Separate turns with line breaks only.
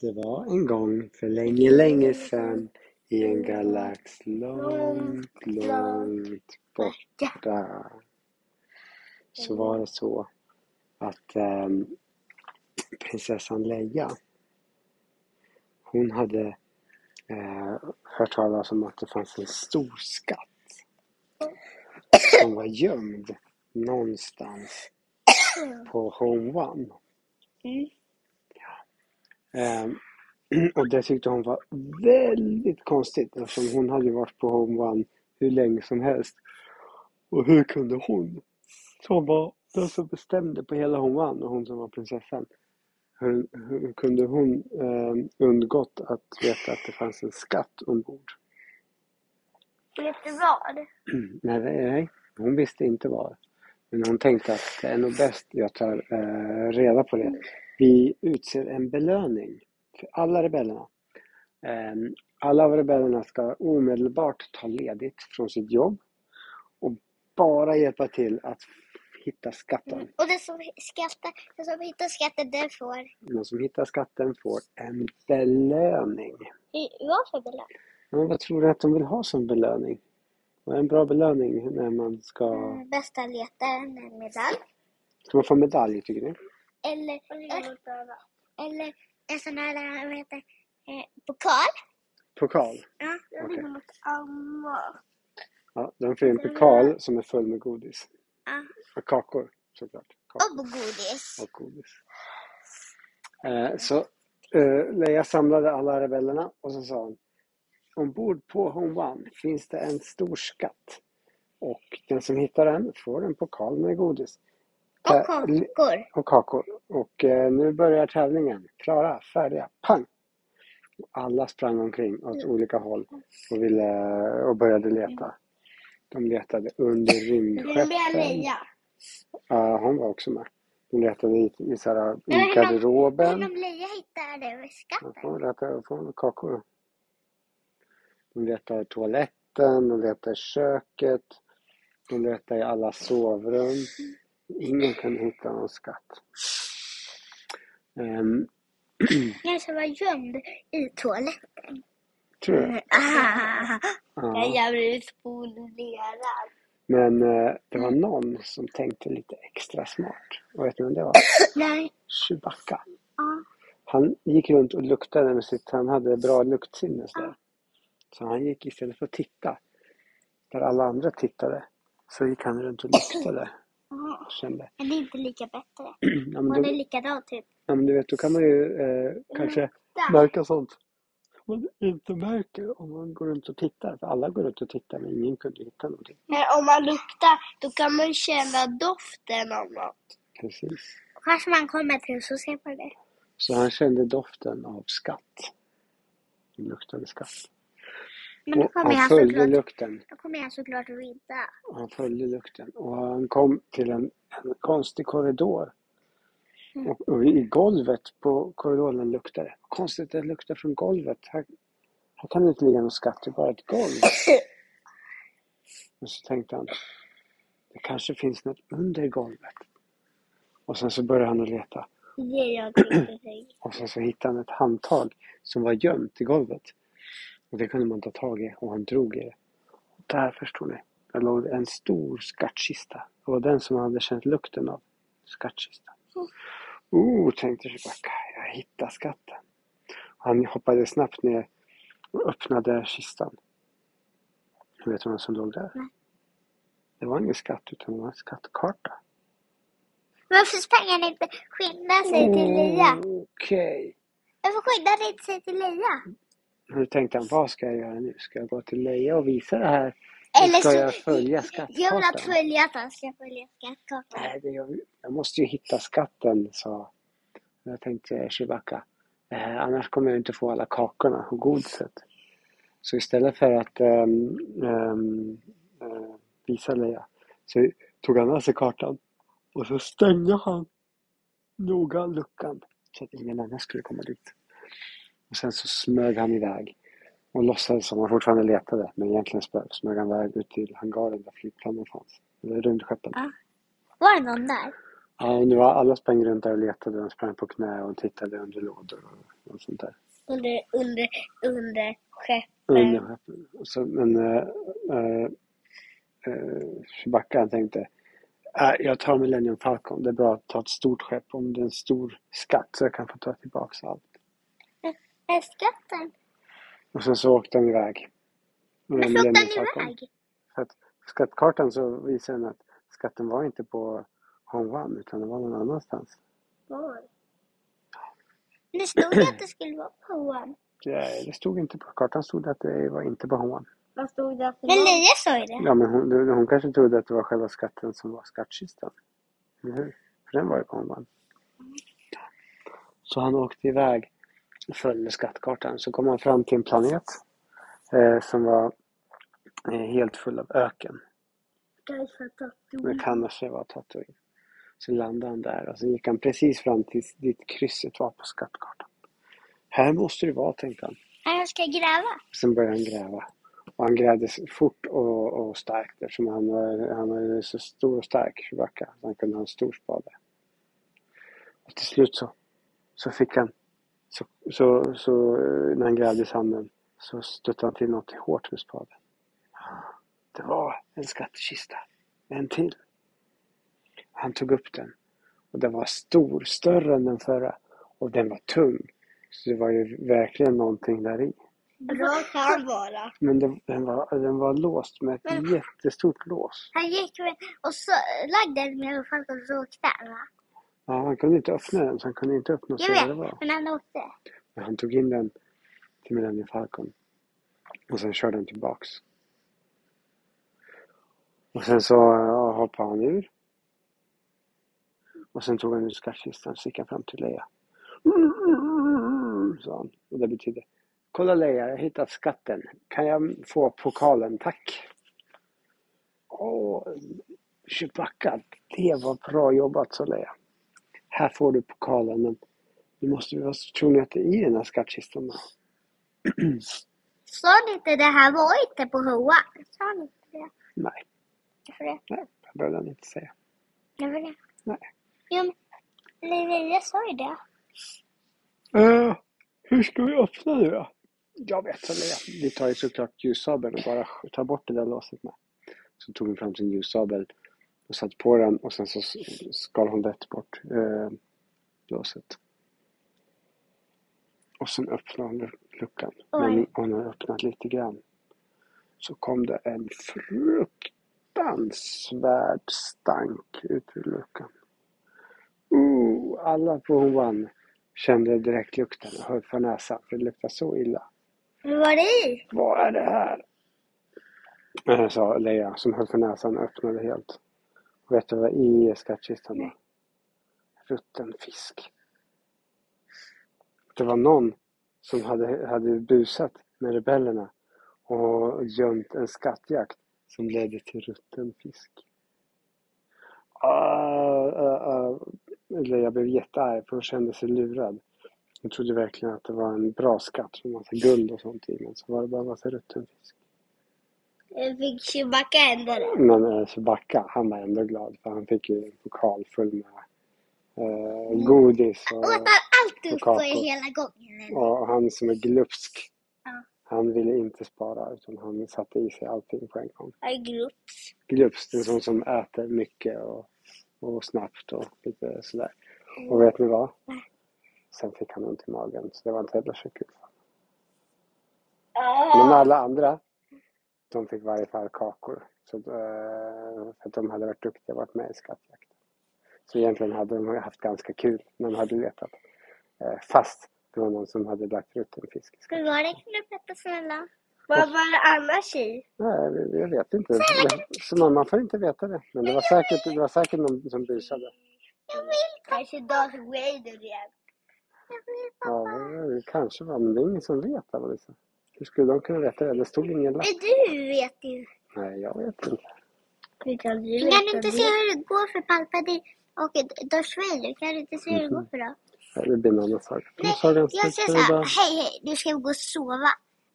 Det var en gång för länge, länge sedan i en galax långt, långt borta. Så var det så att ehm, prinsessan Leia hon hade eh, hört talas om att det fanns en stor skatt som var gömd någonstans på Home One.
Mm.
Ehm, och det tyckte hon var väldigt konstigt eftersom hon hade ju varit på Home One hur länge som helst. Och hur kunde hon, som var den som bestämde på hela Home One och hon som var prinsessan, hur, hur kunde hon ehm, undgått att veta att det fanns en skatt ombord?
Vet du vad?
Nej, nej, hon visste inte vad. Men hon tänkte att det är nog bäst jag tar eh, reda på det. Vi utser en belöning för alla rebellerna. Eh, alla av rebellerna ska omedelbart ta ledigt från sitt jobb och bara hjälpa till att hitta skatten.
Mm. Och den som, skattar, den som hittar skatten den får...
Den som hittar skatten får en belöning.
Hur- Vad för belöning?
Ja, Men vad tror du att de vill ha som belöning? Vad är en bra belöning när man ska...
Mm, Bästa letaren, en medalj.
Ska man få medalj, tycker du?
Eller, eller en sån här, vad heter eh, pokal.
Pokal?
Ja.
vill Okej. ha
något annat.
Ja, de får en pokal som är full med godis.
Ja.
Och kakor såklart. Kakor
Och godis.
och godis. Eh, så eh, Leia samlade alla rebellerna och så sa hon Ombord på Home One finns det en stor skatt. Och den som hittar den får en pokal med godis.
Och
Eh, li-
kakor.
och kakor. Och eh, nu börjar tävlingen. Klara, färdiga, pang! Och Alla sprang omkring åt olika håll
Mm.
och, ville, och började leta. De letade under rymdskeppen. Ja, hon var också med. Hon letade i, i, så här,
Men
i
hon- Men
garderoben.
om Leia hittar det, skatten.
Hon letade hon kakor. Hon letade i toaletten, hon letade i köket. Hon letade i alla sovrum. Ingen kunde hitta någon skatt. Ehm,
Den som var gömd i toaletten.
tror jag.
Ah,
Ja.
Jag blev spolierad.
Men eh, det var någon som tänkte lite extra smart. Och vet ni vem det var?
Nej.
Chewbacca.
Ja.
Han gick runt och luktade med sitt, han hade bra luktsinne sådär. Så han gick istället för att titta, där alla andra tittade, så gick han runt och luktade
Ja.
och kände.
Men det är inte lika bättre.
Ja men,
Man är
då,
likadan typ.
ja, men du vet, då kan man ju eh, kanske märka sånt man inte märker om man går runt och tittar. För alla går runt och tittar men ingen kunde hitta någonting.
Men om man luktar, då kan man känna doften av något.
Precis.
Kanske man kommer till så ser man det.
Så han kände doften av skatt. Det luktade skatt.
Men då
Och
kommer
han
jag
följde
såklart,
lukten.
då kommer jag såklart att vinna.
Och Han följde lukten och han kom till en, en konstig korridor. Och, och i golvet på korridoren luktade det. Konstigt, det luktar från golvet. Här, här kan det inte ligga någon skatt, det är bara ett golv. Men så tänkte han, det kanske finns något under golvet. Och sen så började han att leta.
Det är jag tänkte säga.
Och sen så hittade han ett handtag som var gömt i golvet. Och det kunde man ta tag i och han drog i det. Och där förstod ni. Där låg en stor skattkista. Det var den som han hade känt lukten av. Skattkista. Oh, tänkte Chewbacca. Jag hittar skatten. Han hoppade snabbt ner och öppnade kistan. Vet du vem som låg där?
Nej.
Det var ingen skatt utan det var en skattkarta.
Varför sprang han inte skynda sig till
Mm.
Leia?
Okej.
Varför skyndade han inte sig till Leia?
Mm. Och då tänkte han, vad ska jag göra nu? Ska jag gå till Leia och visa det här?
Eller
ska
så-
jag följa
Jag vill att
skattkartan?
följa att han ska följa skattkartan.
Nej, det jag, jag måste ju hitta skatten, sa jag tänkte Chewbacca. Eh, annars kommer jag inte få alla kakorna och godiset. Så istället för att ehm, ehm, eh, visa Leia så tog han av sig kartan och så stängde han noga luckan så att ingen annan skulle komma dit. Och sen så smög han iväg och låtsades som han fortfarande letade men egentligen smö- smög han iväg ut till hangaren där flygplanen fanns. Eller rymdskeppen.
Var det någon där?
Nej, nu var alla sprang runt där och letade. De sprang på knä och tittade under lådor och, och sånt där.
Under, under, under skeppen.
Under skeppen. Så, men eh, eh, eh, Chewbacca han tänkte, "Äh, jag tar Millennium Falcon. Det är bra att ta ett stort skepp om det är en stor skatt så jag kan få ta tillbaks allt.
Är skatten?
Och sen så åkte han iväg. Med
Men flög
Millennium
den
Falcon.
iväg?
Så att skattkartan så visar den att skatten var inte på Hong Wan utan den var någon annanstans.
Var? Men Det stod ju att det skulle vara på honom.
Det, det stod inte på kartan stod det att det var inte på Hong Wan.
Vad stod det för
Men
något?
Lia sa ju det.
Ja men hon, hon hon kanske trodde att det var själva skatten som var skattkistan. Eller hur? För den var ju på Hong Wan. Så han åkte iväg och följde skattkartan. Så kom han fram till en planet eh, som var eh, helt full av öken.
Kanske
Det
tatuering.
kan också vara Tatooine. Så landade han där och så gick han precis fram till dit krysset var på skattkartan. Här måste det vara, tänkte han.
Nej, jag ska gräva.
Sen började han gräva. Och han grävde s- fort och, och starkt eftersom han var, han var ju så stor och stark, Chewbacca. så Han kunde ha en stor spade. Och till slut så, så fick han, så, så, så eh, när han grävde i sanden så stötte han till något hårt med spaden. Det var en skattkista. En till. Han tog upp den. Och den var stor, större än den förra. Och den var tung. Så det var ju verkligen någonting där i.
Bra kan vara.
Men den, den, var, den var låst med ett
Men-
jättestort lås.
Han gick med, och så lagde den med och Falcon och så åkte han va?
Ja, han kunde inte öppna den, så han kunde inte öppna och se vad det
Jag vet,
var.
men han åkte.
Men han tog in den till Millennium Falcon. Och sen körde den tillbaks. Och sen så ja, hoppade han ur. Och sen tog han ut skattkistan så gick han fram till Leia. Mm, Sa han. Och det betyder Kolla Leia, jag har hittat skatten. Kan jag få pokalen, tack? Åh, Chewbacca, det var bra jobbat, sa Leia. Här får du pokalen, men du måste ju vara tror ni att det är i den här skattkistan då?
Sa ni inte det här var inte på Hoa? Sa ni inte det?
Nej,
Varför det?
nej, det behövde han inte säga.
Varför det?
Nej.
Jo, men Lia sa ju det.
Eh, hur ska vi öppna nu då? Jag vet inte. det. Vi tar ju såklart ljussabeln och bara sk- tar bort det där låset med. Så tog hon fram sin ljussabel och satte på den och sen så s- skar hon rätt bort eh, låset. Och sen öppnade hon lu- luckan. Men
Oj.
hon har öppnat lite grann. Så kom det en fruktansvärd stank ut ur luckan. Ooh, alla på Hoan kände direkt lukten och höll för näsan för det luktade så illa.
Vad var det i?
Vad är det här? Eh, Sa Leia som höll för näsan och öppnade helt. Vet du vad i skattkistan var? Rutten fisk. Det var någon som hade, hade busat med rebellerna och gömt en skattjakt som ledde till rutten fisk. Ah, ah, ah. Leia blev jättearg för hon kände sig lurad. Jag trodde verkligen att det var en bra skatt med massa guld och sånt i. Men så var det bara massa rutten fisk.
Fick Chewbacca ändå det?
Men eh, Chewbacca, han var ändå glad för han fick ju en pokal full med eh, godis. Och,
Åt han allt upp på
kakor.
hela gången? eller?
och han som är glupsk.
Ja.
Han ville inte spara utan han satte i sig allting på en gång.
I groups.
Glupsk, det är en sån som äter mycket och, och snabbt och lite sådär. Och vet ni vad? Sen fick han ont i magen så det var inte heller så kul. Men
Ja.
alla andra, de fick i varje fall kakor. Så, eh, för att de hade varit duktiga och varit med i skattjakten. Så egentligen hade de haft ganska kul när de hade letat. Eh, fast det var någon som hade lagt ut en fisk.
Hur var det? Kan du berätta snälla?
Vad var det annars i?
Nej, jag vet inte. Det, så man, man får inte veta det. Men det var säkert, det var säkert någon som busade.
Jag vill,
Kanske Darth Vader igen.
jag vill
Ja,
pappa.
det- det kanske var, men det är ingen som vet. Alltså. Hur skulle de kunna veta det? Det stod ingen lapp.
Men du vet ju.
Nej, jag vet inte.
Hur kan du
Kan du inte se hur det går för Palpadi och Darth Vader? Kan du inte se hur det går för dem?
Mm-hmm. Det blir en annan saga.
Nej,
Sagans
jag
slut
säger
för
så här,
idag.
hej hej, nu ska vi gå och sova.